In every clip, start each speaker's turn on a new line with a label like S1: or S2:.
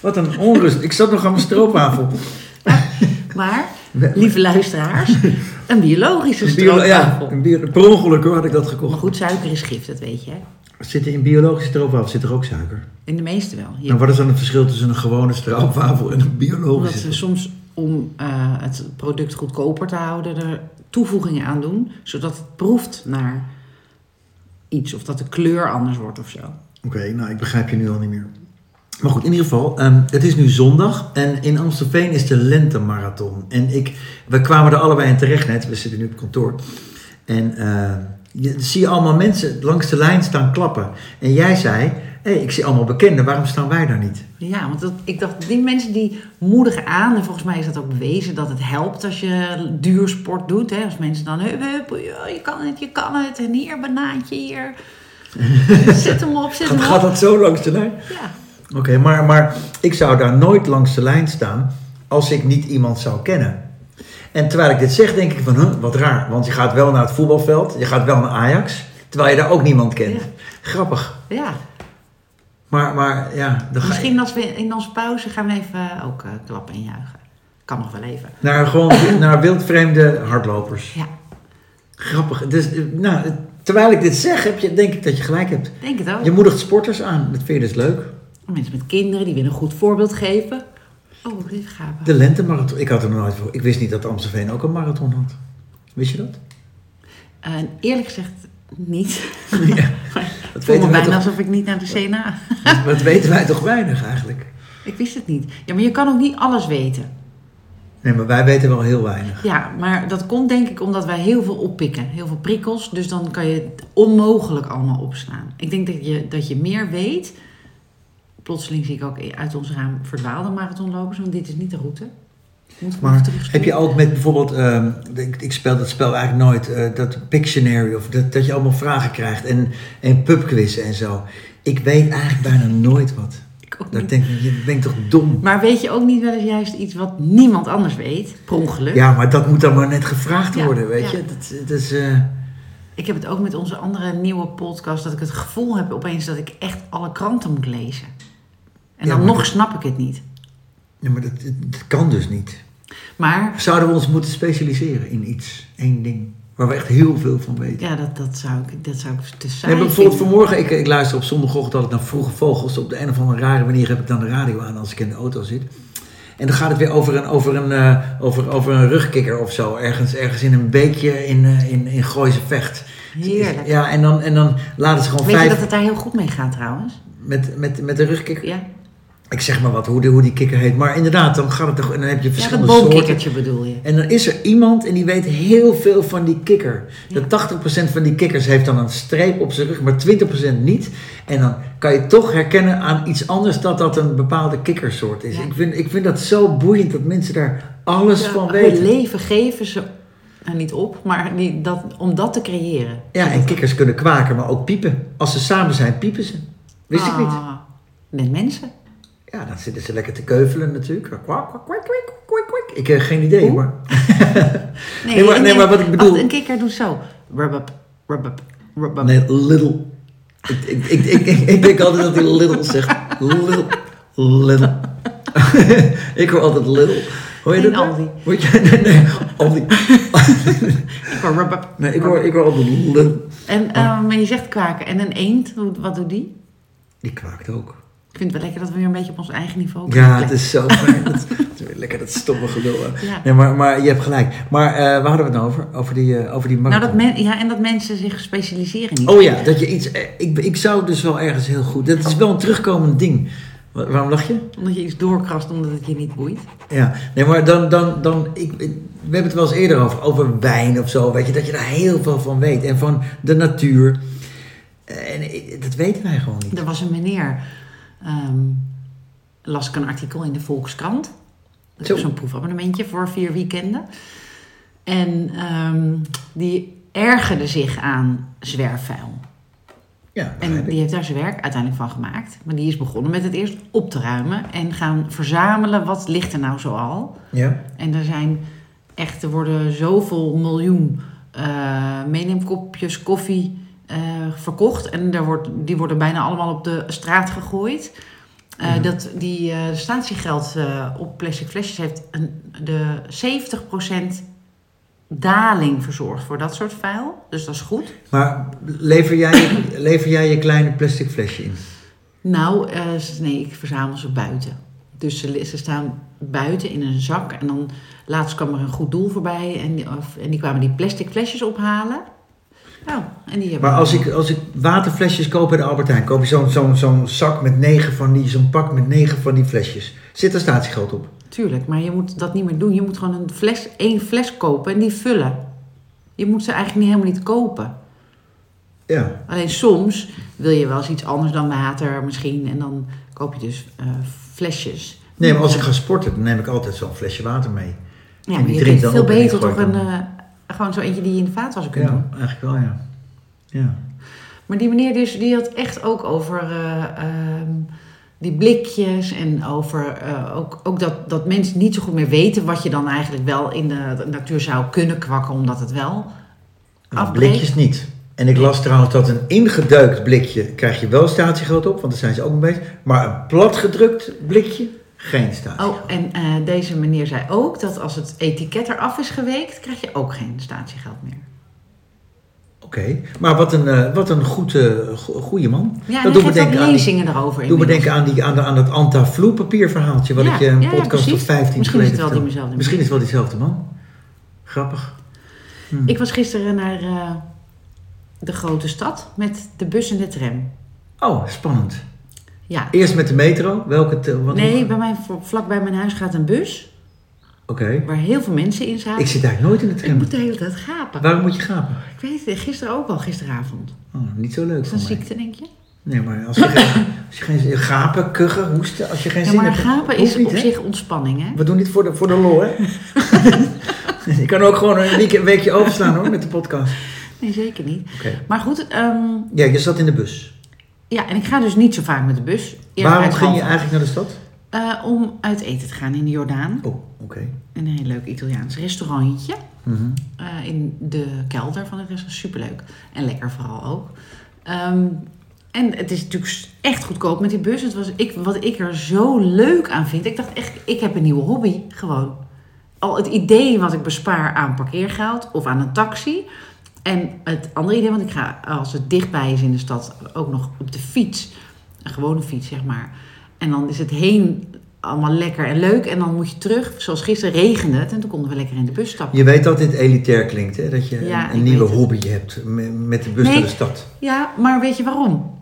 S1: Wat een onrust. Ik zat nog aan mijn stroopwafel.
S2: Maar, lieve luisteraars, een biologische
S1: Een bio-
S2: stroopwafel.
S1: ja, een bio- per ongeluk hoor, had ik dat
S2: Maar
S1: gekocht.
S2: goed, suiker is gif, dat weet je. hè?
S1: Zit er in biologische stroopwafel zit er ook suiker?
S2: In de meeste wel.
S1: Nou,
S2: Ja.
S1: wat is dan het verschil tussen een gewone stroopwafel en een biologische?
S2: Omdat ze soms om eh, het product goedkoper te houden er toevoegingen aan doen, zodat het proeft naar iets of dat de kleur anders wordt of zo.
S1: Oké, nou ik begrijp je nu al niet meer. Maar goed, in ieder geval, ehm, het is nu zondag en in Amstelveen is de lentemarathon. En ik, we kwamen er allebei in terecht net, we zitten nu op kantoor. En eh, je zie je allemaal mensen langs de lijn staan klappen. En jij zei, hé, ik zie allemaal bekenden, waarom staan wij daar niet?
S2: Ja, want dat, ik dacht, die mensen die moedigen aan, en volgens mij is dat ook bewezen dat het helpt als je duursport doet. Hè? Als mensen dan, hup, hup, ja, je kan het, je kan het, en hier, banaantje, hier. zet hem op, zet
S1: Gaat,
S2: hem
S1: gaat
S2: op.
S1: dat zo langs de lijn?
S2: Ja.
S1: Oké, maar, maar ik zou daar nooit langs de lijn staan als ik niet iemand zou kennen. En terwijl ik dit zeg, denk ik van, huh, wat raar. Want je gaat wel naar het voetbalveld, je gaat wel naar Ajax, terwijl je daar ook niemand kent.
S2: Ja.
S1: Grappig.
S2: ja.
S1: Maar, maar ja, dan ga je
S2: Misschien als we in onze pauze gaan we even ook eh, klappen en juichen. Kan nog wel even.
S1: naar, gewoon, naar wildvreemde hardlopers.
S2: Ja,
S1: Grappig. Dus, eh, nou, eh, terwijl ik dit zeg, heb je, denk ik dat je gelijk hebt.
S2: denk het ook.
S1: Je moedigt sporters aan, dat vind je dus leuk.
S2: Mensen met kinderen die willen een goed voorbeeld geven. Oh, dit gaan we.
S1: De lentemarathon, ik had er nog nooit voor. Ik wist niet dat Amstelveen ook een marathon had. Wist je dat?
S2: Eh, eerlijk gezegd niet.
S1: Ja,
S2: Het voelt
S1: weten
S2: me
S1: we
S2: bijna
S1: toch?
S2: alsof ik niet naar de CNA.
S1: Dat weten wij toch weinig eigenlijk?
S2: Ik wist het niet. Ja, maar je kan ook niet alles weten.
S1: Nee, maar wij weten wel heel weinig.
S2: Ja, maar dat komt denk ik omdat wij heel veel oppikken. Heel veel prikkels. Dus dan kan je het onmogelijk allemaal opslaan. Ik denk dat je, dat je meer weet. Plotseling zie ik ook uit ons raam verdwaalde marathonlopers. Want dit is niet de route. Moet
S1: Maar
S2: terugspoelen.
S1: heb je ook met bijvoorbeeld, ehm, ik, ik speel dat spel eigenlijk nooit, eh, dat Pictionary of dat, dat je allemaal vragen krijgt en, en pubquizzen en zo. Ik weet eigenlijk bijna nooit wat.
S2: Ik ook
S1: Dan
S2: niet.
S1: denk ik, je bent toch dom?
S2: Maar weet je ook niet wel eens juist iets wat niemand anders weet? Per ongeluk.
S1: Ja, maar dat moet dan maar net gevraagd
S2: Ja,
S1: worden, weet
S2: ja.
S1: je? Dat, dat is, eh,
S2: Ik heb het ook met onze andere nieuwe podcast. Dat ik het gevoel heb opeens dat ik echt alle kranten moet lezen. En
S1: Ja,
S2: dan
S1: maar
S2: nog
S1: dat-
S2: snap ik het niet.
S1: ja, maar dat, dat kan dus niet.
S2: Maar
S1: Zouden we ons moeten specialiseren in iets, één ding, waar we echt heel veel van weten?
S2: Ja, dat, dat, zou ik, dat zou ik te saai
S1: Nee, maar bijvoorbeeld
S2: vinden.
S1: vanmorgen, ik, ik luister op zondagochtend altijd naar Vroege Vogels. Op de een of andere rare manier heb ik dan de radio aan als ik in de auto zit. En dan gaat het weer over een, over een, eh, over, over een rugkikker of zo. Ergens, ergens in een beekje in, eh, in, in Gooise Vecht.
S2: Heerlijk.
S1: Ja, en dan, en dan laten ze gewoon
S2: Weet je
S1: vijf
S2: dat het daar heel goed mee gaat trouwens?
S1: met, met, met de rugkikker.
S2: Ja,
S1: Ik zeg maar wat, hoe, die- hoe die kikker heet. Maar inderdaad, dan gaat het toch, en dan heb je
S2: ja dat
S1: verschillende soorten.
S2: boomkikkertje bedoel je.
S1: En dan is er iemand en die weet heel veel van die kikker. Dat 80% van die kikkers heeft dan een streep op zijn rug, maar 20% niet. En dan kan je toch herkennen aan iets anders dat dat een bepaalde kikkersoort is.
S2: Ja.
S1: Ik, vind, ik vind dat zo boeiend dat mensen daar alles
S2: Ja,
S1: van
S2: hun
S1: weten.
S2: leven geven ze nou, niet op, maar die, dat, om dat te creëren.
S1: Ja, en kikkers kunnen kwaken, maar ook piepen. Als ze samen zijn, piepen ze. Wist ik niet.
S2: Ah, Met mensen.
S1: Ja, dan zitten ze lekker te keuvelen natuurlijk. Kwak, kwak, kwak, kwak, kwak, kwak. Ik heb geen idee, maar... Nee, maar- nee, maar wat ik
S2: wacht,
S1: bedoel-
S2: een kikker doet zo. Rubbub, rubbub, rubbub.
S1: Ah. Nee, little. Ik, ik, ik, ik, ik, ik denk altijd dat hij little zegt. Little. Little. ik hoor altijd little. Hoor je dat?
S2: En
S1: nou?
S2: Aldi.
S1: Hoor je, nee, nee, Aldi.
S2: Ik hoor rubbub.
S1: Nee, ik hoor, Oh. ik hoor altijd little.
S2: En eh, maar je zegt kwaken. En een eend, hoe- wat doet die?
S1: Die kwaakt ook.
S2: Ik vind het wel lekker dat we weer een beetje op ons eigen niveau
S1: Ja,
S2: blijven.
S1: het is zo fijn. Dat, het is weer lekker dat stomme gelul. hè.
S2: Ja.
S1: Nee, maar, maar je hebt gelijk. Maar eh, waar hadden we het nou over? Over die, eh, over die
S2: Nou,
S1: marathon.
S2: dat men, ja, en dat mensen zich specialiseren niet.
S1: Oh ja, dat je iets... eh, Ik, ik zou dus wel ergens heel goed... Dat is wel een terugkomend ding. Wa- Waarom lach je?
S2: Omdat je iets doorkrast omdat het je niet boeit.
S1: Ja, nee, maar dan, dan, dan ik, ik- we hebben het wel eens eerder over, over wijn of zo, weet je, dat je daar heel veel van weet en van de natuur. En eh, dat weten wij gewoon niet.
S2: Er was een meneer, ehm, las ik een artikel in de Volkskrant. Dat is
S1: Zo.
S2: ook zo'n proefabonnementje voor vier weekenden. En ehm, die ergerde zich aan zwerfvuil.
S1: Ja,
S2: En
S1: begrijp ik.
S2: die heeft daar zijn werk uiteindelijk van gemaakt. Maar die is begonnen met het eerst op te ruimen en gaan verzamelen wat ligt er nou zoal.
S1: ja.
S2: En er zijn echt, er worden zoveel miljoen eh meeneemkopjes koffie eh, verkocht. En daar wordt, die worden bijna allemaal op de straat gegooid. Eh,
S1: Ja.
S2: Dat die eh statiegeld eh, op plastic flesjes heeft een, de 70% daling verzorgd voor dat soort vuil. Dus dat is goed.
S1: Maar lever jij, lever jij je kleine plastic flesje in?
S2: Nou, eh, ze- nee, ik verzamel ze buiten. Dus ze, li- ze staan buiten in een zak. En dan laatst kwam er een goed doel voorbij. En die, of- en die kwamen die plastic flesjes ophalen. Nou, en die hebben
S1: Maar als ik, als ik waterflesjes koop bij de Albert Heijn, koop je zo'n zo'n zo'n zak met negen van die, zo'n pak met negen van die flesjes. Zit er statiegeld op?
S2: Tuurlijk, maar je moet dat niet meer doen. Je moet gewoon een fles, één fles kopen en die vullen. Je moet ze eigenlijk niet helemaal niet kopen.
S1: Ja.
S2: Alleen soms wil je wel eens iets anders dan water misschien. En dan koop je dus eh, flesjes.
S1: Nee, maar als ik ga sporten, dan neem ik altijd zo'n flesje water mee. en
S2: Ja, maar
S1: die
S2: je
S1: drink
S2: kunt
S1: dan
S2: veel
S1: op en die
S2: beter
S1: gooi
S2: toch
S1: ik
S2: een,
S1: dan.
S2: eh, gewoon zo eentje die je in de vaatwasser kunt doen.
S1: Ja, eigenlijk wel, ja. Ja.
S2: Maar die meneer dus, die had echt ook over eh, ehm, die blikjes en over eh, ook, ook dat, dat mensen niet zo goed meer weten wat je dan eigenlijk wel in de natuur zou kunnen kwakken, omdat het wel
S1: Nou,
S2: afbreekt.
S1: blikjes niet. En ik las trouwens dat een ingedeukt blikje krijg je wel statiegeld op, want daar zijn ze ook mee bezig. Maar een platgedrukt blikje, geen statiegeld.
S2: Oh, en eh, deze meneer zei ook dat als het etiket eraf is geweekt, krijg je ook geen statiegeld meer.
S1: Oké, maar wat een, eh, wat een goed, eh, go- goede man.
S2: Ja,
S1: dat
S2: en
S1: doet
S2: hij
S1: me
S2: geeft ook
S1: denken aan, die,
S2: lezingen
S1: doet
S2: erover
S1: me
S2: inmiddels.
S1: denken aan, die, aan, de, aan dat anti papier verhaaltje, wat
S2: Ja,
S1: ik je een
S2: ja, ja,
S1: podcast
S2: precies.
S1: of 15
S2: Misschien is
S1: geleden
S2: het wel die
S1: vertelde.
S2: mezelfde
S1: Misschien is het wel diezelfde man. Grappig.
S2: Ik was gisteren naar eh, de grote stad met de bus en de tram.
S1: Oh, spannend.
S2: Ja.
S1: Eerst met de metro, welke... te- wat-
S2: Nee,
S1: Oké.
S2: bij mij, vlakbij mijn huis gaat een bus waar heel veel mensen in zaten.
S1: Ik zit eigenlijk nooit in de
S2: Ik
S1: tram.
S2: moet de hele tijd gapen.
S1: Waarom moet je gapen?
S2: Ik weet het gisteren ook al, gisteravond.
S1: Oh, niet zo leuk
S2: Is
S1: voor
S2: dat
S1: mij.
S2: ziekte, denk je?
S1: Nee, maar als je, geen, als je geen gapen, kuchen, hoesten, als je geen
S2: Ja,
S1: zin
S2: maar
S1: hebt.
S2: gapen
S1: hoeft
S2: is
S1: niet,
S2: op
S1: hè?
S2: zich ontspanning, hè?
S1: We doen dit voor de, voor de lol, hè? je kan ook gewoon een, week, een weekje overslaan, hoor, met de podcast.
S2: Nee, zeker niet.
S1: Oké.
S2: Maar goed, ehm,
S1: Ja, je zat in de bus.
S2: ja, en ik ga dus niet zo vaak met de bus.
S1: Waarom ging je
S2: Eerlijkheidshalve.
S1: eigenlijk naar de stad?
S2: Eh, om uit eten te gaan in de Jordaan.
S1: Oh, oké.
S2: In Een heel leuk Italiaans restaurantje.
S1: Mhm.
S2: eh, in de kelder van het restaurant. Superleuk. En lekker vooral ook. Ehm, en het is natuurlijk s- echt goedkoop met die bus. Het was, ik, wat ik er zo leuk aan vind. Ik dacht echt, ik heb een nieuwe hobby. Gewoon. Al het idee wat ik bespaar aan parkeergeld of aan een taxi. En het andere idee, want ik ga als het dichtbij is in de stad ook nog op de fiets. Een gewone fiets, zeg maar. En dan is het heen allemaal lekker en leuk. En dan moet je terug. Zoals gisteren regende het. En toen konden we lekker in de bus stappen.
S1: Je weet dat dit elitair klinkt, hè? Dat je
S2: Ja,
S1: een,
S2: ik
S1: nieuwe
S2: weet het.
S1: hobby hebt me- met de bus
S2: Nee.
S1: naar de stad.
S2: Ja, maar weet je waarom?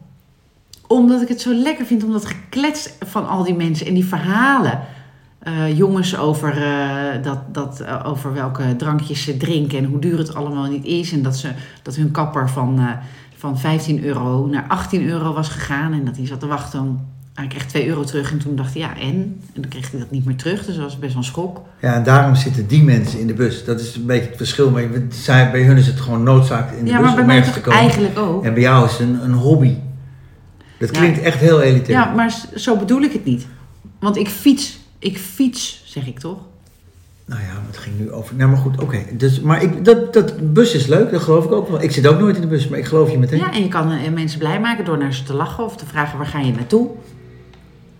S2: Omdat ik het zo lekker vind om dat geklets van al die mensen en die verhalen. Eh, jongens over, eh, dat, dat, eh, over welke drankjes ze drinken en hoe duur het allemaal niet is. En dat, ze, dat hun kapper van, eh, van 15 euro naar 18 euro was gegaan. En dat hij zat te wachten. om- Hij kreeg 2 euro terug en toen dacht hij ja en? En dan kreeg hij dat niet meer terug. Dus dat was best wel een schok.
S1: Ja, en daarom zitten die mensen in de bus. Dat is een beetje het verschil. Maar je- zij, bij hun is het gewoon noodzaak in de
S2: Ja,
S1: bus
S2: maar bij
S1: om
S2: mij
S1: ergens te
S2: toch
S1: komen.
S2: eigenlijk ook.
S1: En bij jou is het een, een hobby. Dat
S2: Ja.
S1: klinkt echt heel elitair.
S2: Ja, maar s- zo bedoel ik het niet. Want ik fiets, ik fiets, zeg ik toch?
S1: Nou ja, het ging nu over. Nou, maar goed, oké. Dus, maar ik, dat, dat bus is leuk, dat geloof ik ook wel. Ik zit ook nooit in de bus, maar ik geloof je meteen.
S2: Ja, en je kan eh, mensen blij maken door naar ze te lachen of te vragen waar ga je naartoe.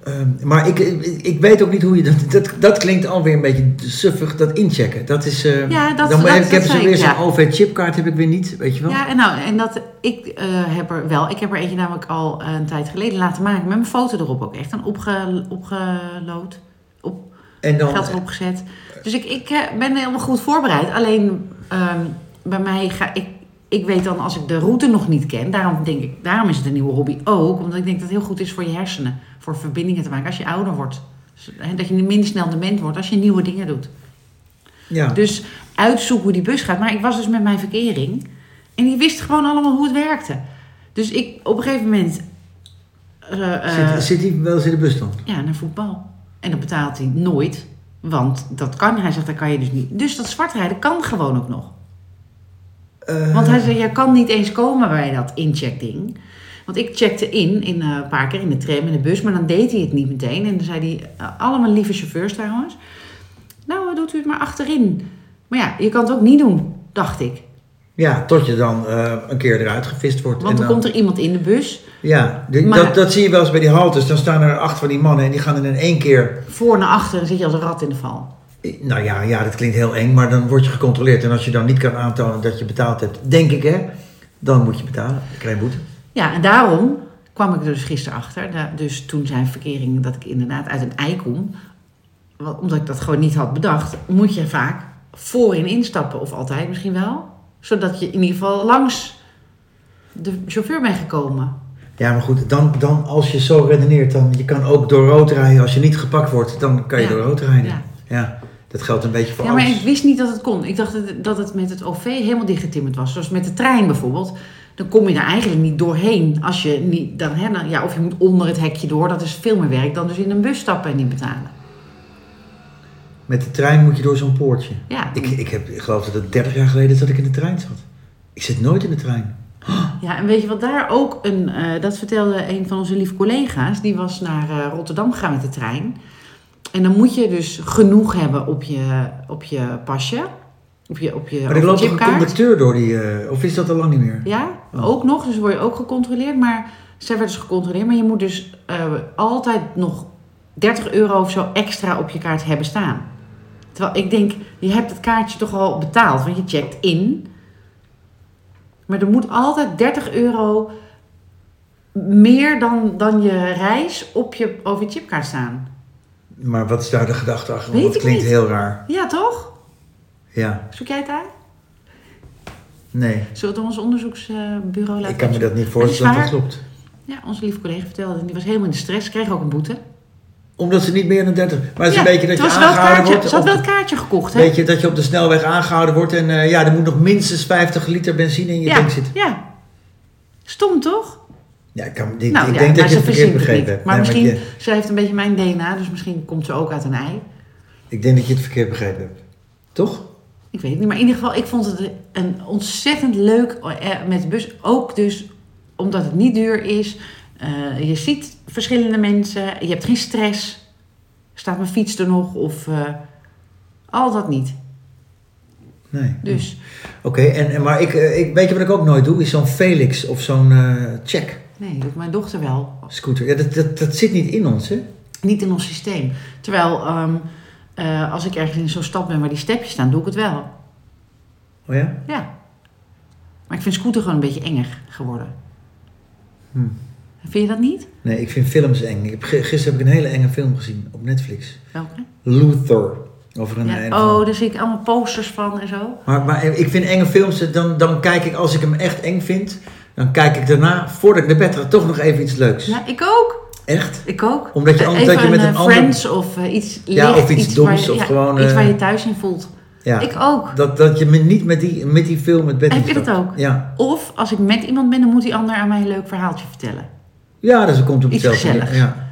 S1: Ehm, maar ik, ik, ik weet ook niet hoe je dat, dat. Dat klinkt alweer een beetje suffig, dat inchecken. Dat is. eh,
S2: Ja, dat-
S1: dan,
S2: dat-
S1: heb, ik
S2: dat
S1: heb
S2: zei
S1: zo weer
S2: ik,
S1: zo'n
S2: ja.
S1: OV-chipkaart, heb ik weer niet, weet je wel?
S2: Ja, en, nou, en dat, ik eh, heb er wel, ik heb er eentje namelijk al eh, een tijd geleden laten maken met mijn foto erop ook echt. Een opge, opgelood, op,
S1: en dan.
S2: geld erop gezet. Dus ik, ik eh, ben helemaal goed voorbereid. Alleen ehm, bij mij ga ik, ik weet dan als ik de route nog niet ken, daarom denk ik, daarom is het een nieuwe hobby ook. Omdat ik denk dat het heel goed is voor je hersenen, voor verbindingen te maken als je ouder wordt. Dus, hè, Dat je minder snel dement wordt als je nieuwe dingen doet.
S1: ja.
S2: Dus uitzoeken hoe die bus gaat. Maar ik was dus met mijn verkering. En die wist gewoon allemaal hoe het werkte. Dus ik op een gegeven moment. eh, eh,
S1: zit, zit hij wel eens in de bus dan?
S2: ja, naar voetbal. En dat betaalt hij nooit. Want dat kan. Hij zegt, dat kan je dus niet. Dus dat zwartrijden kan gewoon ook nog.
S1: Eh,
S2: Want hij zei, jij kan niet eens komen bij dat incheckding. Want ik checkte in, in eh, een paar keer in de tram, in de bus, maar dan deed hij het niet meteen. En dan zei hij, eh, allemaal lieve chauffeurs trouwens, nou eh, doet u het maar achterin. Maar ja, je kan het ook niet doen, dacht ik.
S1: Ja, tot je dan eh, een keer eruit gevist wordt.
S2: Want
S1: en
S2: dan
S1: dan-
S2: komt er iemand in de bus
S1: Ja, de-
S2: Maar-
S1: dat, dat zie je wel eens bij die haltes. Dan staan er acht van die mannen en die gaan in één keer...
S2: voor naar achter en zit je als een rat in de val.
S1: Nou ja, ja, dat klinkt heel eng, maar dan word je gecontroleerd. En als je dan niet kan aantonen dat je betaald hebt, denk ik hè, dan moet je betalen. Dan krijg je boete.
S2: Ja, en daarom kwam ik er dus gisteren achter. Da- Dus toen zijn verkering dat ik inderdaad uit een ei kom. wa- Omdat ik dat gewoon niet had bedacht. Moet je vaak voorin instappen. Of altijd misschien wel. Zodat je in ieder geval langs de chauffeur bent gekomen.
S1: Ja, maar goed, dan, dan als je zo redeneert, dan je kan ook door rood rijden. Als je niet gepakt wordt, dan kan je
S2: Ja.
S1: door rood rijden. Ja.
S2: Ja.
S1: dat geldt een beetje voor
S2: Ja,
S1: alles.
S2: maar ik wist niet dat het kon. Ik dacht dat- dat het met het OV helemaal dichtgetimmerd was. Zoals met de trein bijvoorbeeld. Dan kom je daar eigenlijk niet doorheen. Als je niet, dan, hè, dan- ja, of je moet onder het hekje door. Dat is veel meer werk dan dus in een bus stappen en niet betalen.
S1: Met de trein moet je door zo'n poortje.
S2: Ja,
S1: Ik, ik, heb, ik geloof dat het 30 jaar geleden is dat ik in de trein zat. Ik zit nooit in de trein.
S2: Ja, en weet je wat daar ook een... eh, dat vertelde een van onze lieve collega's. Die was naar eh, Rotterdam gegaan met de trein. En dan moet je dus genoeg hebben op je, op je pasje. Op je, op je
S1: Maar er loopt toch een
S2: chipkaart.
S1: conducteur door die... eh, of is dat al lang niet meer?
S2: Ja,
S1: Oh.
S2: ook nog. Dus word je ook gecontroleerd. Maar zij werd dus gecontroleerd. Maar je moet dus eh, altijd nog 30 euro of zo extra op je kaart hebben staan. Terwijl ik denk, je hebt het kaartje toch al betaald. Want je checkt in. Maar er moet altijd 30 euro meer dan, dan je reis op je OV-chipkaart staan.
S1: Maar wat is daar de gedachte achter? Want
S2: Weet
S1: dat
S2: ik
S1: klinkt
S2: niet.
S1: heel raar.
S2: Ja, toch?
S1: Ja,
S2: Zoek jij het uit?
S1: nee.
S2: Zullen we het ons onderzoeksbureau laten
S1: Ik kan me dat niet
S2: Maar het is
S1: voorstellen dat dat
S2: waar.
S1: klopt.
S2: Ja, onze lieve collega vertelde. en Die was helemaal in de stress. Kreeg ook een boete.
S1: Omdat ze niet meer dan 30... Maar het is
S2: Ja,
S1: een beetje dat
S2: het
S1: je
S2: was wel het
S1: aangehouden
S2: kaartje,
S1: wordt...
S2: Ze had
S1: op de-
S2: wel het kaartje gekocht, hè?
S1: Weet je, dat je op de snelweg aangehouden wordt en eh, ja, er moet nog minstens 50 liter benzine in je
S2: ja,
S1: tank zitten.
S2: ja. Stom, toch?
S1: Ja, ik, kan, ik,
S2: nou
S1: ik
S2: ja,
S1: denk
S2: nou,
S1: dat je
S2: ze
S1: het
S2: verzint
S1: verkeerd
S2: het
S1: begrepen
S2: niet.
S1: hebt.
S2: Maar
S1: Nee,
S2: misschien,
S1: je-
S2: ze heeft een beetje mijn DNA, dus misschien komt ze ook uit een ei.
S1: ik denk dat je het verkeerd begrepen hebt. Toch?
S2: Ik weet het niet, maar in ieder geval, ik vond het een ontzettend leuk eh, met de bus. Ook dus omdat het niet duur is. Eh, je ziet verschillende mensen, je hebt geen stress. Staat mijn fiets er nog? Of eh, al dat niet.
S1: Nee.
S2: Dus
S1: Oké, en, en, maar ik, eh, ik, weet je wat ik ook nooit doe? Is zo'n Felix of zo'n eh, check
S2: nee, doet mijn dochter wel.
S1: scooter. Ja, dat, dat, dat zit niet in ons, hè?
S2: niet in ons systeem. Terwijl ehm, eh, als ik ergens in zo'n stad ben waar die stepjes staan, doe ik het wel.
S1: Oh ja?
S2: Ja. Maar ik vind scooter gewoon een beetje enger geworden.
S1: Hm.
S2: Vind je dat niet?
S1: Nee, ik vind films eng. Ik heb, ge- gisteren heb ik een hele enge film gezien op Netflix.
S2: Welke?
S1: Luther. Over een...
S2: Ja.
S1: een-
S2: Oh, daar zie ik allemaal posters van en zo.
S1: Maar, maar ik vind enge films, dan, dan kijk ik, als ik hem echt eng vind, dan kijk ik daarna, voordat ik naar bed ga, toch nog even iets leuks.
S2: Ja, ik ook.
S1: Echt?
S2: Ik ook.
S1: Omdat je
S2: Eh,
S1: anders-
S2: Even
S1: dat je met een
S2: eh,
S1: ander-
S2: Friends of eh, iets licht.
S1: Ja, of iets
S2: waar
S1: doms
S2: je-
S1: of
S2: ja,
S1: gewoon,
S2: Iets waar
S1: eh,
S2: je thuis in voelt.
S1: Ja.
S2: Ik ook.
S1: Dat, dat je me niet met die, met die film het bed
S2: Heb
S1: in
S2: je dat
S1: stapt.
S2: ook?
S1: Ja.
S2: Of als ik met iemand ben, dan moet die ander aan mij een leuk verhaaltje vertellen.
S1: Ja, dus dat komt op
S2: Iets
S1: hetzelfde. neer.
S2: gezelligs.
S1: Ja.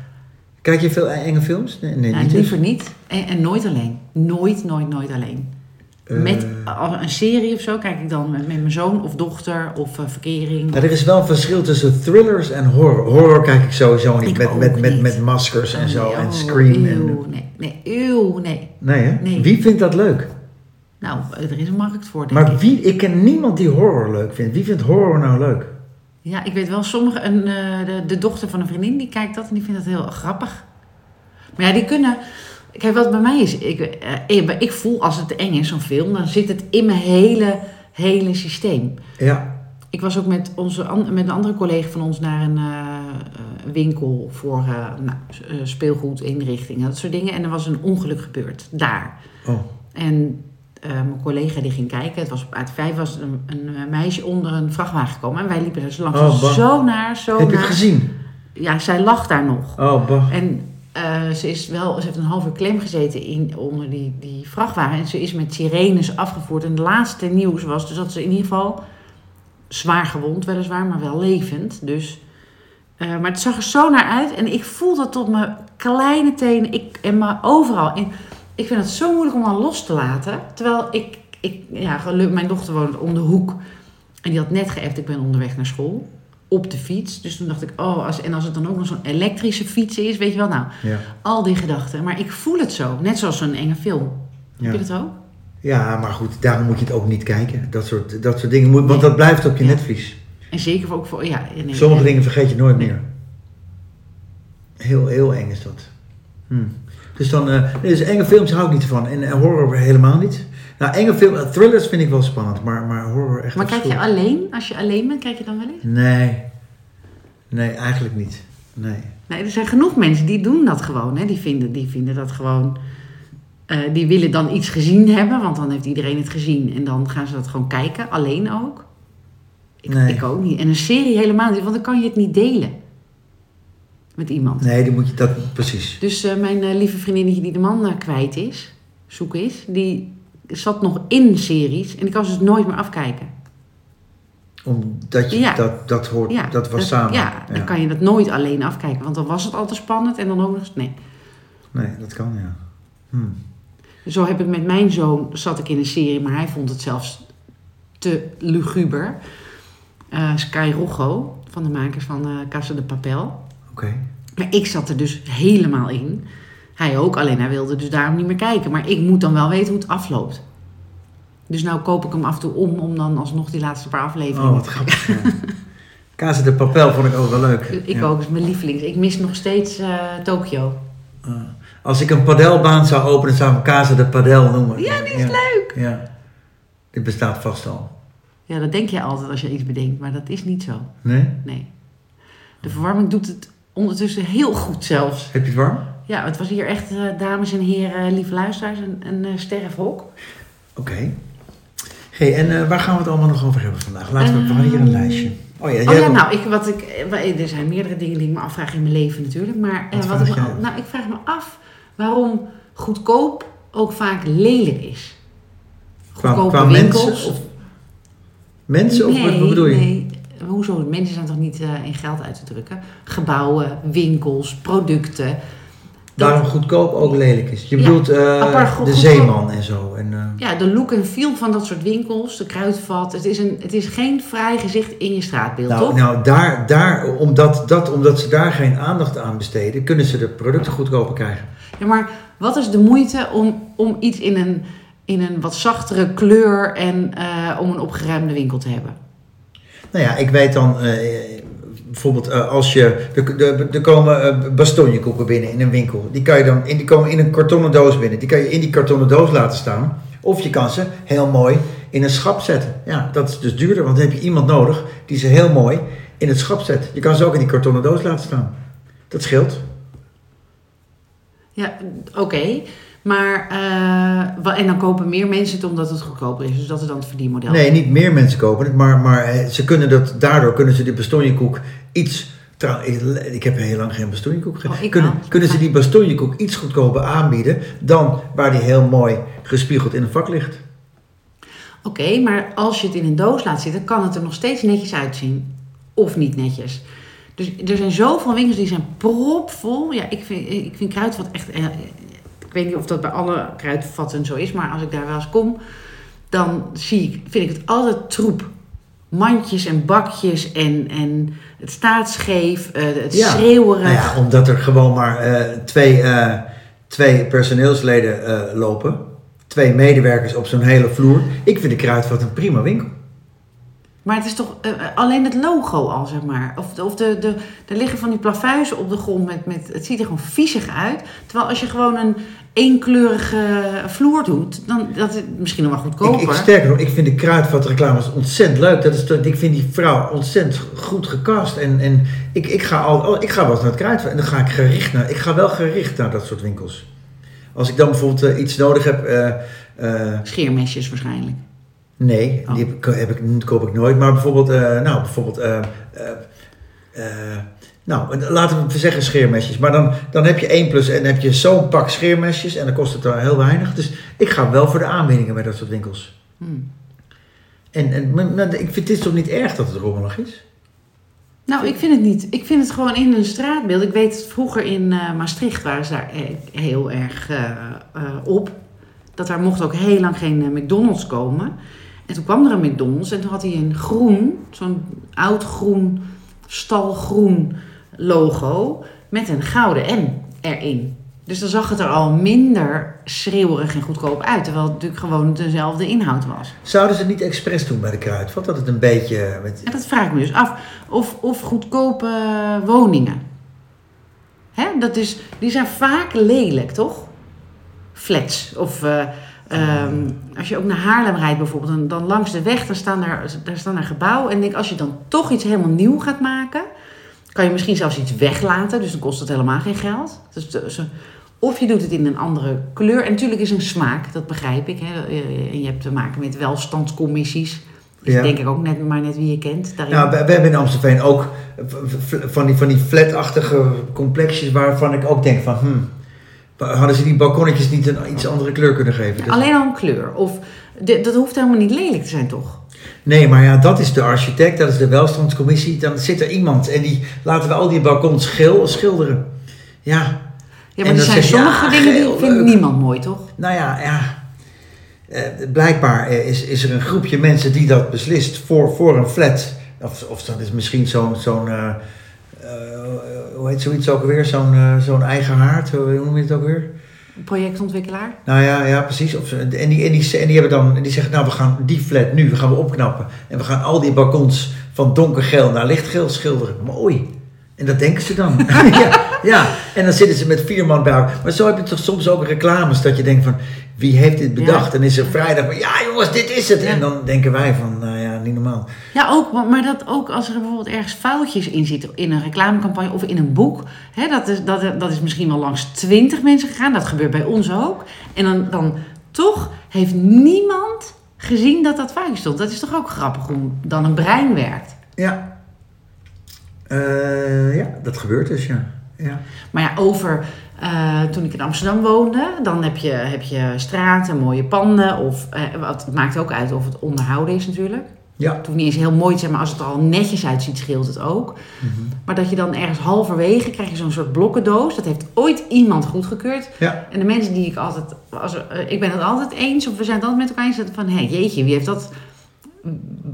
S1: Kijk je veel e-, enge films? Nee, nee
S2: Ja,
S1: niet.
S2: Nou, liever niet. En, en nooit alleen. Nooit, nooit, nooit alleen.
S1: Eh.
S2: Met a- een serie of zo kijk ik dan met, met mijn zoon of dochter of eh, verkering.
S1: Nou, er is wel een verschil tussen thrillers en horror. Horror kijk ik sowieso niet.
S2: Ik
S1: met,
S2: ook
S1: met, met,
S2: niet.
S1: met maskers en zo.
S2: Oh,
S1: en Scream. En,
S2: Eeuw, nee, nee, eeuw, nee.
S1: nee, hè?
S2: Nee.
S1: Wie vindt dat leuk?
S2: Nou, er is een markt voor, denk
S1: Maar
S2: ik.
S1: wie, ik ken niemand die horror leuk vindt. Wie vindt horror nou leuk?
S2: Ja, ik weet wel, sommige, een, eh, de, de dochter van een vriendin, die kijkt dat en die vindt dat heel grappig. Maar ja, die kunnen... Kijk, wat bij mij is, ik, eh, ik, ik voel als het eng is, zo'n film, dan zit het in mijn hele, hele systeem.
S1: Ja.
S2: Ik was ook met, onze, an- met een andere collega van ons naar een eh, eh, winkel voor eh, nou, s- eh, speelgoed, inrichtingen, dat soort dingen. En er was een ongeluk gebeurd, daar.
S1: Oh.
S2: En eh, mijn collega die ging kijken, het was op uit vijf was een, een eh, meisje onder een vrachtwagen gekomen. En wij liepen er zo langs,
S1: Oh, bang.
S2: zo naar, zo
S1: Heb je
S2: naar.
S1: het gezien?
S2: Ja, zij lag daar nog.
S1: Oh, bah.
S2: En eh, ze, is wel, ze heeft een half uur klem gezeten in, onder die, die vrachtwagen. En ze is met sirenes afgevoerd. En het laatste nieuws was dus dat ze in ieder geval zwaar gewond, weliswaar, maar wel levend. Dus, eh, maar het zag er zo naar uit. En ik voel dat tot mijn kleine tenen ik, en maar overal. En ik vind het zo moeilijk om dan los te laten. Terwijl ik, ik ja, geluk, mijn dochter woont om de hoek. En die had net geappt, ik ben onderweg naar school. Op de fiets. Dus toen dacht ik, oh, als, en als het dan ook nog zo'n elektrische fiets is, weet je wel, nou,
S1: Ja.
S2: al die gedachten. Maar ik voel het zo, net zoals zo'n enge film.
S1: Ja.
S2: Heb je dat ook?
S1: Ja, maar goed, daarom moet je het ook niet kijken. Dat soort, dat soort dingen. moet- Want dat blijft op je
S2: Ja.
S1: netvlies.
S2: En zeker ook voor... Ja, nee,
S1: Sommige
S2: nee.
S1: dingen vergeet je nooit
S2: Nee.
S1: meer. Heel, heel eng is dat. Hm. Dus dan, eh, nee, dus enge films hou ik niet van. En, en horror helemaal niet. Nou, enge films, thrillers vind ik wel spannend, maar, maar horror echt
S2: Maar kijk je
S1: afschuwelijk.
S2: alleen? Als je alleen bent, kijk je dan wel eens?
S1: Nee. Nee, eigenlijk niet. Nee.
S2: Nee, er zijn genoeg mensen die doen dat gewoon. Hè. Die, vinden, die vinden dat gewoon... eh, die willen dan iets gezien hebben, want dan heeft iedereen het gezien. En dan gaan ze dat gewoon kijken, alleen ook. Ik,
S1: Nee.
S2: ik ook niet. En een serie helemaal niet, want dan kan je het niet delen. Met iemand.
S1: Nee, dan moet je dat precies.
S2: Dus eh, mijn eh, lieve vriendinnetje die de man eh, kwijt is, zoek is, die zat nog in series. En ik kan ze dus nooit meer afkijken.
S1: Omdat je
S2: Ja.
S1: dat, dat hoort,
S2: Ja,
S1: dat was samen.
S2: Ja, dan kan je dat nooit alleen afkijken. Want dan was het al te spannend en dan ook nog eens... Nee.
S1: Nee, dat kan, ja. Hm.
S2: Zo heb ik met mijn zoon, zat ik in een serie, maar hij vond het zelfs te luguber. Eh, Sky Rojo, van de makers van eh Casa de Papel.
S1: Oké.
S2: Maar ik zat er dus helemaal in. Hij ook, alleen hij wilde dus daarom niet meer kijken. Maar ik moet dan wel weten hoe het afloopt. Dus nou koop ik hem af en toe om, om dan alsnog die laatste paar afleveringen...
S1: Oh, wat grappig. ja. Casa de Papel vond ik ook wel leuk.
S2: Ik
S1: Ja.
S2: ook, is mijn lievelings. Ik mis nog steeds eh Tokio.
S1: Ah. Als ik een padelbaan zou openen, zou ik hem Casa de Padel noemen.
S2: Ja, die is leuk.
S1: Ja. Dit bestaat vast al.
S2: Ja, dat denk je altijd als je iets bedenkt, maar dat is niet zo.
S1: Nee?
S2: Nee. De verwarming doet het ondertussen heel goed zelfs.
S1: Heb je het warm?
S2: Ja, het was hier echt, eh, dames en heren, lieve luisteraars, een, een eh, sterfhok.
S1: Oké. hey, en eh, waar gaan we het allemaal nog over hebben vandaag? Laten we, we hadden hier een
S2: Ehm,
S1: lijstje. Oh ja, jij
S2: Oh ja,
S1: hebt-
S2: nou, ik, wat ik, eh, wa- er zijn meerdere dingen die ik me afvraag in mijn leven natuurlijk. Maar eh,
S1: Wat
S2: wat
S1: vraag
S2: ik, me,
S1: jij?
S2: al- nou, ik vraag me af waarom goedkoop ook vaak lelijk is.
S1: Qua-
S2: Goedkope
S1: qua
S2: winkels.
S1: mensen of- mensen of wat, wat bedoel je?
S2: Nee. Hoezo? Mensen zijn toch niet eh, in geld uit te drukken? Gebouwen, winkels, producten.
S1: Daarom goedkoop ook lelijk is. Je
S2: Ja,
S1: bedoelt eh,
S2: apart goed-
S1: de
S2: goedkoop.
S1: zeeman en zo. En, eh,
S2: Ja, de look en feel van dat soort winkels, de kruidvat. Het is, een, het is geen fraai gezicht in je straatbeeld,
S1: nou,
S2: toch?
S1: nou daar, daar, omdat, dat, omdat ze daar geen aandacht aan besteden, kunnen ze de producten goedkoper krijgen.
S2: Ja, maar wat is de moeite om, om iets in een, in een wat zachtere kleur en eh, om een opgeruimde winkel te hebben?
S1: Nou ja, ik weet dan eh, bijvoorbeeld eh, als je. Er, er, er komen eh, bastonjekoeken binnen in een winkel. Die, kan je dan, in, die komen in een kartonnen doos binnen. Die kan je in die kartonnen doos laten staan. Of je kan ze heel mooi in een schap zetten. Ja, dat is dus duurder, want dan heb je iemand nodig die ze heel mooi in het schap zet. Je kan ze ook in die kartonnen doos laten staan. Dat scheelt.
S2: Ja, oké. Maar, eh, wa- en dan kopen meer mensen het omdat het goedkoper is. Dus dat is dan het verdienmodel.
S1: Nee, niet meer mensen kopen het, maar, maar eh, ze kunnen dat, daardoor kunnen ze die bastonjekoek iets. trouw- ik, ik heb heel lang geen bastonjekoek
S2: Oh,
S1: gegeten.
S2: ik
S1: kunnen,
S2: wel.
S1: kunnen ze die bastonjekoek iets goedkoper aanbieden dan waar die heel mooi gespiegeld in een vak ligt?
S2: Oké, maar als je het in een doos laat zitten, kan het er nog steeds netjes uitzien. Of niet netjes. Dus er zijn zoveel winkels die zijn propvol. Ja, ik vind, ik vind kruidvat echt... eh, Ik weet niet of dat bij alle kruidvatten zo is, maar als ik daar wel eens kom, dan zie ik, vind ik het altijd troep. Mandjes en bakjes en, en het staat scheef, eh, het
S1: Ja.
S2: schreeuwerig.
S1: Nou ja, omdat er gewoon maar eh, twee, eh, twee personeelsleden eh, lopen. Twee medewerkers op zo'n hele vloer. Ik vind de Kruidvat een prima winkel.
S2: Maar het is toch eh, eh, alleen het logo al, zeg maar. Of, of de, de, er liggen van die plafuizen op de grond. Met, met, het ziet er gewoon viezig uit. Terwijl als je gewoon een eenkleurige vloer doet, dan dat is misschien nog wel
S1: Ik,
S2: goedkoper.
S1: ik, sterker nog, ik vind de kruidvatreclames ontzettend leuk. Dat is, dat- ik vind die vrouw ontzettend goed gecast. En, en ik, ik, ga al, al- ik ga wel eens naar het kruidvat. En dan ga ik gericht naar. Ik ga wel gericht naar dat soort winkels. Als ik dan bijvoorbeeld eh, iets nodig heb. eh, eh,
S2: Scheermesjes waarschijnlijk.
S1: nee,
S2: Oh.
S1: die heb, ik- heb ik, koop ik nooit. Maar bijvoorbeeld. eh, nou, bijvoorbeeld. eh, eh, eh, nou, laten we zeggen scheermesjes. Maar dan, dan heb je één plus en dan heb je zo'n pak scheermesjes. En dan kost het dan heel weinig. Dus ik ga wel voor de aanbiedingen bij dat soort winkels.
S2: Hmm.
S1: En, en maar, maar ik vind het is toch niet erg dat het rommelig is?
S2: Nou, ik vind het niet. Ik vind het gewoon in een straatbeeld. Ik weet, vroeger in eh, Maastricht waren ze daar eh, heel erg eh, eh, op. Dat daar mocht ook heel lang geen eh, McDonald's komen. En toen kwam er een McDonald's en toen had hij een groen, zo'n oud groen, stalgroen logo met een gouden M erin. Dus dan zag het er al minder schreeuwerig en goedkoop uit. Terwijl het natuurlijk gewoon dezelfde inhoud was.
S1: Zouden ze het niet expres doen bij de kruidvat? Dat het een beetje... Met...
S2: Ja, dat vraag ik me dus af. Of, of goedkope woningen. Hè? Dat is, die zijn vaak lelijk, toch? Flats. Of eh, ehm, als je ook naar Haarlem rijdt bijvoorbeeld, dan, dan langs de weg, dan staan daar, daar staan daar gebouwen. En ik denk, als je dan toch iets helemaal nieuw gaat maken, kan je misschien zelfs iets weglaten. Dus dan kost het helemaal geen geld. Dus, de- zo- of je doet het in een andere kleur. En natuurlijk is een smaak, dat begrijp ik. Hè? Eh, En je hebt te maken met welstandscommissies. Dus
S1: Ja.
S2: denk ik ook net, maar net wie je kent. Daarin.
S1: Nou, we, we hebben in Amstelveen ook eh, v- v- van die, van die flatachtige complexjes waarvan ik ook denk van... Hmm, hadden ze die balkonnetjes niet een iets andere kleur kunnen geven? Dat-
S2: Alleen al een kleur. Of, de- dat hoeft helemaal niet lelijk te zijn, toch?
S1: Nee, maar ja, dat is de architect, dat is de welstandscommissie. Dan zit er iemand en die laten we al die balkons geel schilderen. Ja,
S2: Ja,
S1: En
S2: maar er
S1: dan
S2: zijn
S1: zeg je,
S2: sommige
S1: ja,
S2: dingen die
S1: geel,
S2: vindt
S1: leuk.
S2: niemand mooi, toch?
S1: nou ja, ja. Eh, blijkbaar eh, is, is er een groepje mensen die dat beslist voor, voor een flat. Of, of dat is misschien zo'n, zo'n eh, eh, hoe heet zoiets ook weer? Zo'n, eh, zo'n eigen haard, hoe hoe noem je het ook weer?
S2: Een projectontwikkelaar.
S1: Nou ja, ja precies. Of, ze- en, die, en, die, en die hebben dan, en die zeggen, nou we gaan die flat nu, we gaan we opknappen. En we gaan al die balkons van donkergeel naar lichtgeel schilderen. Mooi. En dat denken ze dan. ja, ja, en dan zitten ze met vier man bij elkaar. Maar zo heb je toch soms ook reclames dat je denkt van, wie heeft dit bedacht? En is er vrijdag van, ja jongens, dit is het.
S2: Ja.
S1: En dan denken wij van, nou ja, niet normaal.
S2: Ja, ook, maar maar dat ook als er bijvoorbeeld ergens foutjes in zitten in een reclamecampagne of in een boek. Hè, dat, is, dat, dat is misschien wel langs twintig mensen gegaan. Dat gebeurt bij ons ook. En dan, dan toch heeft niemand gezien dat dat foutje stond. Dat is toch ook grappig hoe dan een brein werkt.
S1: Ja. Eh, ja, dat gebeurt dus, ja. ja.
S2: Maar ja, over eh, toen ik in Amsterdam woonde, dan heb je, heb je straten, mooie panden. Of, eh, wat, het maakt ook uit of het onderhouden is natuurlijk.
S1: Ja,
S2: Het hoeft niet eens heel mooi te zijn, maar als het er al netjes uitziet, scheelt het ook. Maar dat je dan ergens halverwege krijg je zo'n soort blokkendoos. Dat heeft ooit iemand goedgekeurd.
S1: ja.
S2: En de mensen die ik altijd, als, eh, ik ben het altijd eens, of we zijn het altijd met elkaar eens, dat van hé, jeetje, wie heeft dat,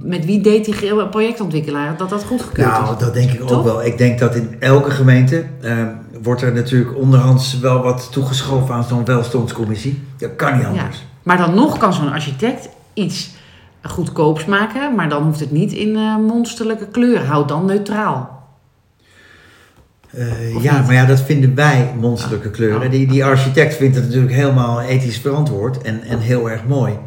S2: met wie deed die ge- projectontwikkelaar dat dat goedgekeurd is?
S1: Nou, dat denk ik
S2: Toch?
S1: ook wel. Ik denk dat in elke gemeente eh, wordt er natuurlijk onderhands wel wat toegeschoven aan zo'n welstandscommissie. Dat kan niet
S2: Ja.
S1: anders.
S2: Maar dan nog kan zo'n architect iets goedkoops maken, maar dan hoeft het niet in eh monsterlijke kleuren. Houd dan neutraal.
S1: Eh,
S2: Of
S1: ja,
S2: niet?
S1: maar ja, dat vinden wij monsterlijke
S2: Ah.
S1: kleuren. Die, die architect vindt het natuurlijk helemaal ethisch verantwoord en, en heel erg mooi.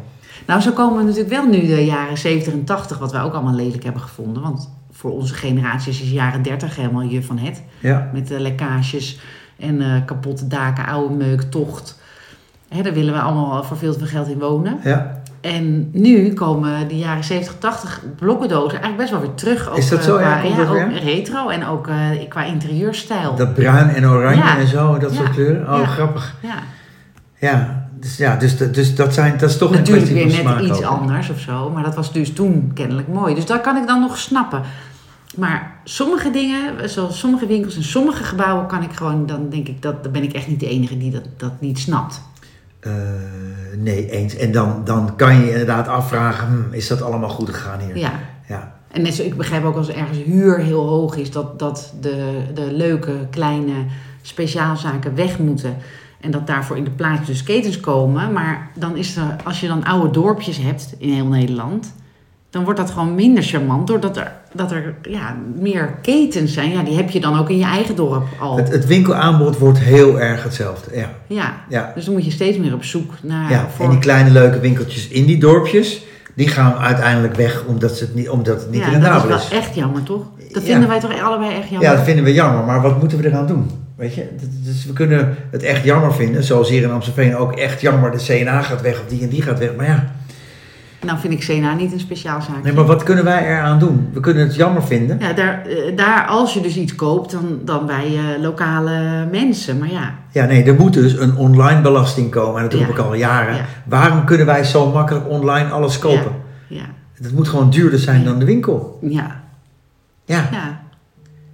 S2: Nou, zo komen we natuurlijk wel nu de jaren 70 en 80, wat wij ook allemaal lelijk hebben gevonden. Want voor onze generatie is de jaren 30 helemaal je van het.
S1: Ja,
S2: Met eh, lekkages en eh, kapotte daken, oude meuk, tocht. Hè, daar willen we allemaal voor veel te veel geld in wonen.
S1: ja.
S2: En nu komen de jaren 70, 80 blokkendozen eigenlijk best wel weer terug. Ook,
S1: Is dat
S2: eh,
S1: zo? Ja,
S2: Qua,
S1: komt dat
S2: ook
S1: weer?
S2: retro en ook eh, qua interieurstijl.
S1: dat bruin en oranje
S2: Ja.
S1: en zo, dat
S2: Ja.
S1: soort kleuren. Oh,
S2: Ja.
S1: grappig.
S2: Ja,
S1: Ja, dus, ja, dus, dat- dus dat, zijn, dat is toch
S2: natuurlijk
S1: een
S2: weer
S1: kwestie van
S2: net
S1: smaak
S2: iets
S1: ook.
S2: anders of zo. Maar dat was dus toen kennelijk mooi. Dus dat kan ik dan nog snappen. Maar sommige dingen, zoals sommige winkels en sommige gebouwen, kan ik gewoon, dan denk ik, dat, dan ben ik echt niet de enige die dat, dat niet snapt.
S1: Eh, nee, eens. En dan, dan kan je je inderdaad afvragen, hm, is dat allemaal goed gegaan hier?
S2: Ja.
S1: ja.
S2: En net zo, ik begrijp ook als ergens huur heel hoog is, dat, dat de, de leuke kleine speciaalzaken weg moeten. En dat daarvoor in de plaats dus ketens komen. Maar dan is er, als je dan oude dorpjes hebt in heel Nederland, dan wordt dat gewoon minder charmant. Doordat er, dat er ja, meer ketens zijn. Ja, die heb je dan ook in je eigen dorp al.
S1: Oh. Het, het winkelaanbod wordt heel erg hetzelfde. Ja.
S2: Ja.
S1: Ja.
S2: Dus dan moet je steeds meer op zoek naar.
S1: ja.
S2: voor-
S1: En die kleine leuke winkeltjes in die dorpjes, die gaan uiteindelijk weg omdat, ze het, niet, omdat het niet
S2: ja, dat is
S1: rendabel
S2: wel
S1: is.
S2: echt jammer, toch? Dat
S1: Ja.
S2: vinden wij toch allebei echt jammer.
S1: Ja, dat vinden we jammer, maar wat moeten we eraan doen? Weet je, D- dus we kunnen het echt jammer vinden, zoals hier in Amstelveen ook echt jammer, de CNA gaat weg of die en die gaat weg. Maar ja,
S2: Nou vind ik Sena niet een speciaalzaak.
S1: nee, maar wat kunnen wij eraan doen? We kunnen het jammer vinden.
S2: Ja, daar, eh, daar, als je dus iets koopt, dan, dan bij eh, lokale mensen. Maar ja,
S1: Ja, nee, er moet dus een online belasting komen en dat roep
S2: Ja.
S1: ik al jaren.
S2: Ja.
S1: Waarom kunnen wij zo makkelijk online alles kopen?
S2: ja,
S1: Het moet gewoon duurder zijn dan de winkel.
S2: ja,
S1: Ja.
S2: ja.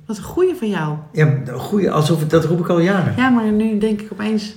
S2: Wat een goeie van jou.
S1: Ja, goeie, alsof het, dat roep ik al jaren.
S2: Ja, maar nu denk ik opeens,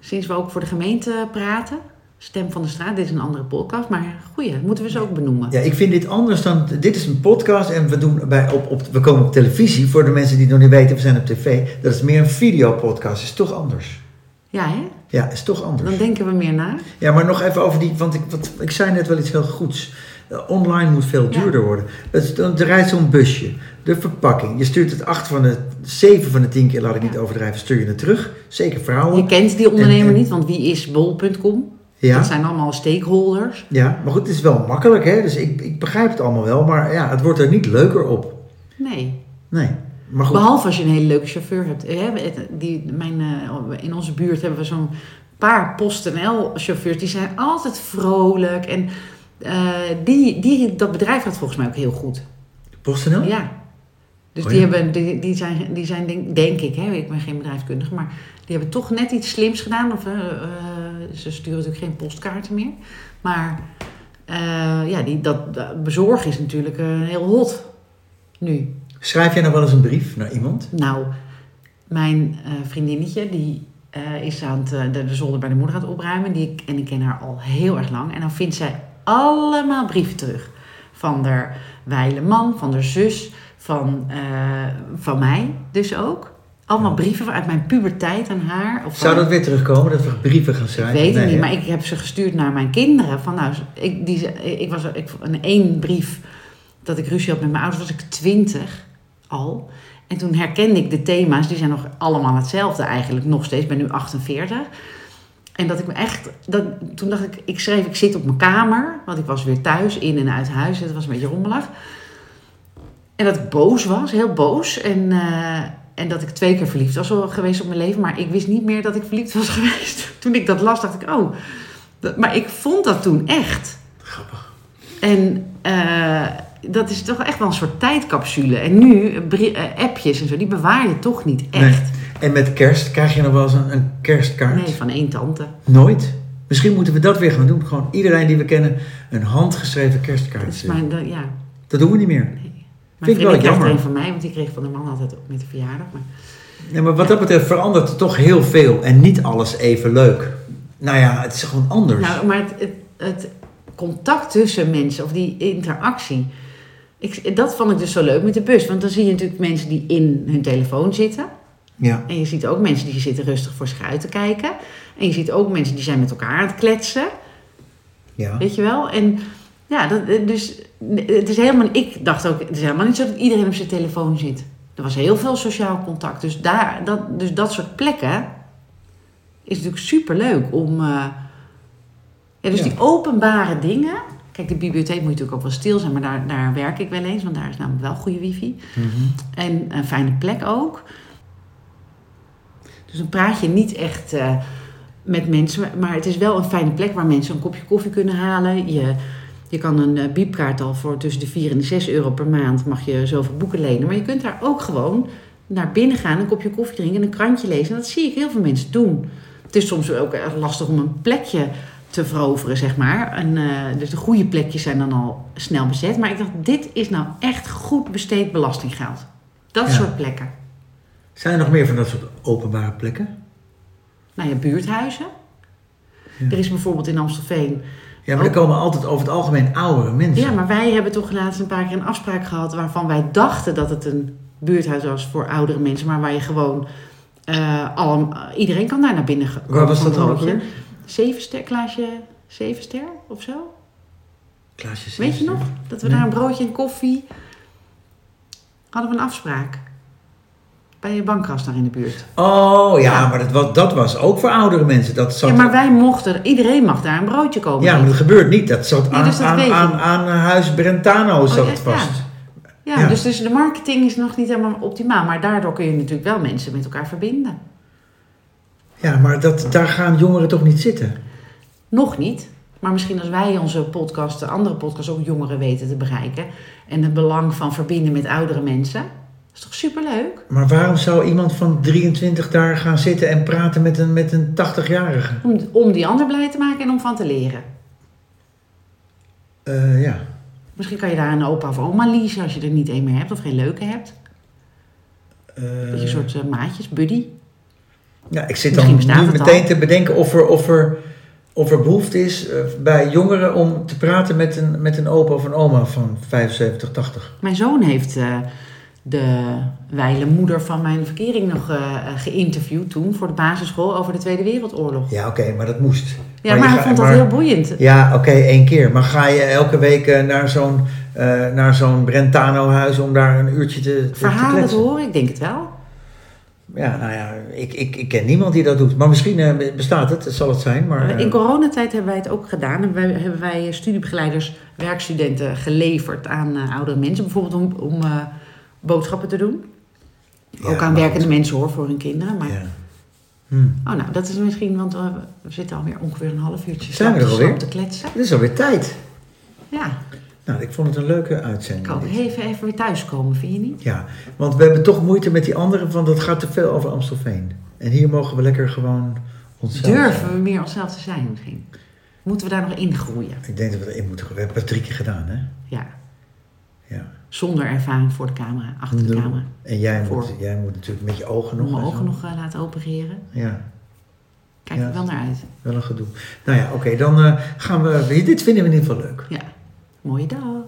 S2: sinds we ook voor de gemeente praten, Stem van de Straat, dit is een andere podcast, maar goeie, dat moeten we ze ook benoemen.
S1: Ja, ik vind dit anders dan. Dit is een podcast en we, doen bij, op, op, we komen op televisie. Voor de mensen die het nog niet weten, we zijn op tv. Dat is meer een videopodcast. Is toch anders?
S2: Ja, hè?
S1: Ja, is toch anders.
S2: Dan denken we meer na.
S1: Ja, maar nog even over die, want ik, wat, ik zei net wel iets heel goeds. Eh, Online moet veel
S2: Ja.
S1: duurder worden. Het, is- er rijdt zo'n busje, de verpakking. Je stuurt het acht van de, zeven van de tien keer, laat ik niet
S2: Ja.
S1: overdrijven, stuur je het terug. Zeker
S2: Je
S1: vrouwen.
S2: kent die ondernemer
S1: En- en-
S2: niet, want wie is bol.com? Dat
S1: Ja,
S2: zijn allemaal stakeholders.
S1: ja, maar goed, het is wel makkelijk, hè? Dus ik, ik begrijp het allemaal wel, maar ja, het wordt er niet leuker op.
S2: Nee.
S1: Nee, maar goed.
S2: Behalve als je een hele leuke chauffeur hebt. Eh, we- het- Die, mijn, eh, in onze buurt hebben we zo'n paar PostNL-chauffeurs. Die zijn altijd vrolijk. En eh, die, die, dat bedrijf gaat volgens mij ook heel goed.
S1: PostNL?
S2: Ja. Dus
S1: Oh
S2: die,
S1: ja.
S2: hebben, die, die zijn, die zijn denk, denk ik, hè, ik ben geen bedrijfskundige, maar die hebben toch net iets slims gedaan. Of, eh, eh, ze sturen natuurlijk geen postkaarten meer. Maar eh, ja, die, dat, dat bezorgen is natuurlijk eh, heel hot nu.
S1: Schrijf jij nou wel eens een brief naar iemand?
S2: Nou, mijn eh, vriendinnetje, die eh, is aan het, eh, de, de zolder bij de moeder aan het opruimen. Die, en ik ken haar al heel erg lang. En dan vindt zij allemaal brieven terug. Van de wijle man, van de zus, van, eh, van mij dus ook. Allemaal brieven uit mijn puberteit aan haar. Of
S1: Zou
S2: van-
S1: dat weer terugkomen, dat we brieven gaan
S2: ik
S1: schrijven?
S2: weet het
S1: Nee,
S2: niet,
S1: hè?
S2: maar ik heb ze gestuurd naar mijn kinderen. Van, nou, ik, die, ik was ik, een één brief dat ik ruzie had met mijn ouders, was ik twintig al. En toen herkende ik de thema's, die zijn nog allemaal hetzelfde eigenlijk, nog steeds. Ik ben nu 48. En dat ik me echt, dat, toen dacht ik, ik schreef, ik zit op mijn kamer, want ik was weer thuis, in en uit huis, het was een beetje rommelig. En dat ik boos was, heel boos. En, eh, en dat ik twee keer verliefd was al geweest op mijn leven. Maar ik wist niet meer dat ik verliefd was geweest. Toen ik dat las, dacht ik, oh. dat- maar ik vond dat toen echt.
S1: Grappig.
S2: En eh, dat is toch echt wel een soort tijdcapsule. En nu, eh, brie- eh, appjes en zo, die bewaar je toch niet echt.
S1: En met kerst krijg je nog wel eens een, een kerstkaart?
S2: Nee, van één tante.
S1: Nooit. Misschien moeten we dat weer gaan doen. Gewoon iedereen die we kennen een handgeschreven kerstkaart.
S2: Dat is
S1: sturen.
S2: mijn, dat- ja.
S1: Dat doen we niet meer.
S2: Mijn
S1: ik wel
S2: vriendin krijgt
S1: jammer.
S2: er een van mij, want die kreeg van de man altijd op met de verjaardag. Maar
S1: Nee, maar wat dat betreft verandert er toch heel veel. En niet alles even leuk. Nou ja, het is gewoon anders.
S2: Nou, maar het, het, het contact tussen mensen, of die interactie. Ik, dat vond ik dus zo leuk met de bus. Want dan zie je natuurlijk mensen die in hun telefoon zitten.
S1: ja.
S2: En je ziet ook mensen die zitten rustig voor zich uit te kijken. En je ziet ook mensen die zijn met elkaar aan het kletsen.
S1: ja.
S2: Weet je wel? En ja, dat, dus het is helemaal. Ik dacht ook, het is helemaal niet zo dat iedereen op zijn telefoon zit. Er was heel veel sociaal contact. Dus, daar, dat, dus dat soort plekken is natuurlijk superleuk om. eh, ja, dus
S1: Ja.
S2: die openbare dingen. Kijk, de bibliotheek moet natuurlijk ook wel stil zijn, maar daar, daar werk ik wel eens, want daar is namelijk wel goede wifi.
S1: Mhm.
S2: En een fijne plek ook. Dus dan praat je niet echt eh, met mensen, maar het is wel een fijne plek waar mensen een kopje koffie kunnen halen. Je, je kan een eh, biepkaart al voor tussen de 4 en de 6 euro per maand, mag je zoveel boeken lenen. Maar je kunt daar ook gewoon naar binnen gaan, een kopje koffie drinken en een krantje lezen. En dat zie ik heel veel mensen doen. Het is soms ook erg lastig om een plekje te veroveren, zeg maar. En, eh, dus de goede plekjes zijn dan al snel bezet. Maar ik dacht, dit is nou echt goed besteed belastinggeld. Dat
S1: Ja.
S2: soort plekken.
S1: Zijn er nog meer van dat soort openbare plekken?
S2: Nou ja, buurthuizen.
S1: Ja.
S2: Er is bijvoorbeeld in Amstelveen.
S1: Ja, maar er komen altijd over het algemeen oudere mensen.
S2: Oh. Ja, maar wij hebben toch laatst een paar keer een afspraak gehad waarvan wij dachten dat het een buurthuis was voor oudere mensen, maar waar je gewoon eh, allem, iedereen kan daar naar binnen ge- komen.
S1: Waar was
S2: van
S1: dat
S2: een
S1: dan ook
S2: roodje.
S1: weer?
S2: Zeven ster, Klaasje, zeven ster of zo?
S1: Klaasje Sister.
S2: Weet je nog? Dat we
S1: Nee.
S2: daar een broodje en koffie. hadden we een afspraak. Bij een bankkast daar in de buurt.
S1: Oh ja,
S2: Ja.
S1: maar dat was, dat was ook voor oudere mensen. Dat zat
S2: Ja, maar wij mochten, iedereen mag daar een broodje komen.
S1: Ja, maar dat gebeurt niet. Dat zat
S2: Nee,
S1: aan,
S2: dus dat
S1: aan,
S2: weet je.
S1: aan, aan eh, huis Brentano zat het
S2: ja, ja.
S1: vast.
S2: Ja,
S1: Ja.
S2: Dus, dus de marketing is nog niet helemaal optimaal. Maar daardoor kun je natuurlijk wel mensen met elkaar verbinden.
S1: Ja, maar dat, daar gaan jongeren toch niet zitten?
S2: Nog niet. Maar misschien als wij onze podcast, de andere podcasts, ook jongeren weten te bereiken. En het belang van verbinden met oudere mensen. Dat is toch superleuk?
S1: Maar waarom zou iemand van 23 daar gaan zitten en praten met een, met een 80-jarige?
S2: Om, om die ander blij te maken en om van te leren.
S1: Eh, ja.
S2: Misschien kan je daar een opa of oma leasen als je er niet één meer hebt of geen leuke hebt.
S1: Eh,
S2: Dat je een soort eh, maatjes, buddy.
S1: ja, ik zit
S2: Misschien
S1: dan
S2: bestaat
S1: nu
S2: het al.
S1: meteen te bedenken of er, of, er, of er behoefte is eh, bij jongeren om te praten met een, met een opa of een oma van 75, 80.
S2: Mijn zoon heeft eh, de wijle moeder van mijn verkering nog eh, eh, geïnterviewd toen voor de basisschool over de Tweede Wereldoorlog.
S1: Ja, oké, maar dat moest.
S2: Ja, maar,
S1: je
S2: hij
S1: ga-
S2: vond dat
S1: maar-
S2: heel boeiend.
S1: Ja, oké, één keer. Maar ga je elke week eh, naar zo'n eh, naar zo'n Brentano-huis om daar een uurtje te, te, te
S2: Verhalen te
S1: kletsen?
S2: horen, ik denk het wel.
S1: Ja, nou ja, ik, ik, ik ken niemand die dat doet. Maar misschien eh, bestaat het, zal het zijn. Maar, eh,
S2: In coronatijd hebben wij het ook gedaan. Hebben wij, hebben wij eh, studiebegeleiders, werkstudenten geleverd aan eh, oudere mensen. Bijvoorbeeld om, om eh, boodschappen te doen.
S1: Ja,
S2: ook
S1: maar
S2: aan
S1: goed.
S2: werkende mensen hoor, voor hun kinderen. Maar,
S1: ja. Hm.
S2: Oh, nou, dat is misschien, want we, we zitten alweer ongeveer een half uurtje
S1: Zijn we
S2: slap
S1: er
S2: te-
S1: alweer?
S2: slap te kletsen.
S1: Dit is alweer tijd.
S2: Ja,
S1: Nou, ik vond het een leuke
S2: ik
S1: uitzending.
S2: kan ook
S1: dit.
S2: even, even weer thuiskomen, vind je niet?
S1: Ja, want we hebben toch moeite met die andere, want dat gaat te veel over Amstelveen. En hier mogen we lekker gewoon onszelf.
S2: Durven we meer onszelf te zijn misschien? Moeten we daar nog in groeien?
S1: Ik denk dat we erin moeten. We hebben het drie keer gedaan, hè?
S2: Ja,
S1: Ja.
S2: zonder ervaring voor de camera, achter de
S1: Nul.
S2: camera.
S1: En jij moet,
S2: Voor.
S1: jij moet natuurlijk met je ogen nog.
S2: Nog mijn
S1: en zo.
S2: ogen nog eh, laten opereren.
S1: Ja,
S2: Kijk
S1: Ja.
S2: er wel naar uit.
S1: wel een gedoe. Nou ja, oké, dan eh, gaan we. Dit vinden we in ieder geval leuk.
S2: Ja, mooie dag.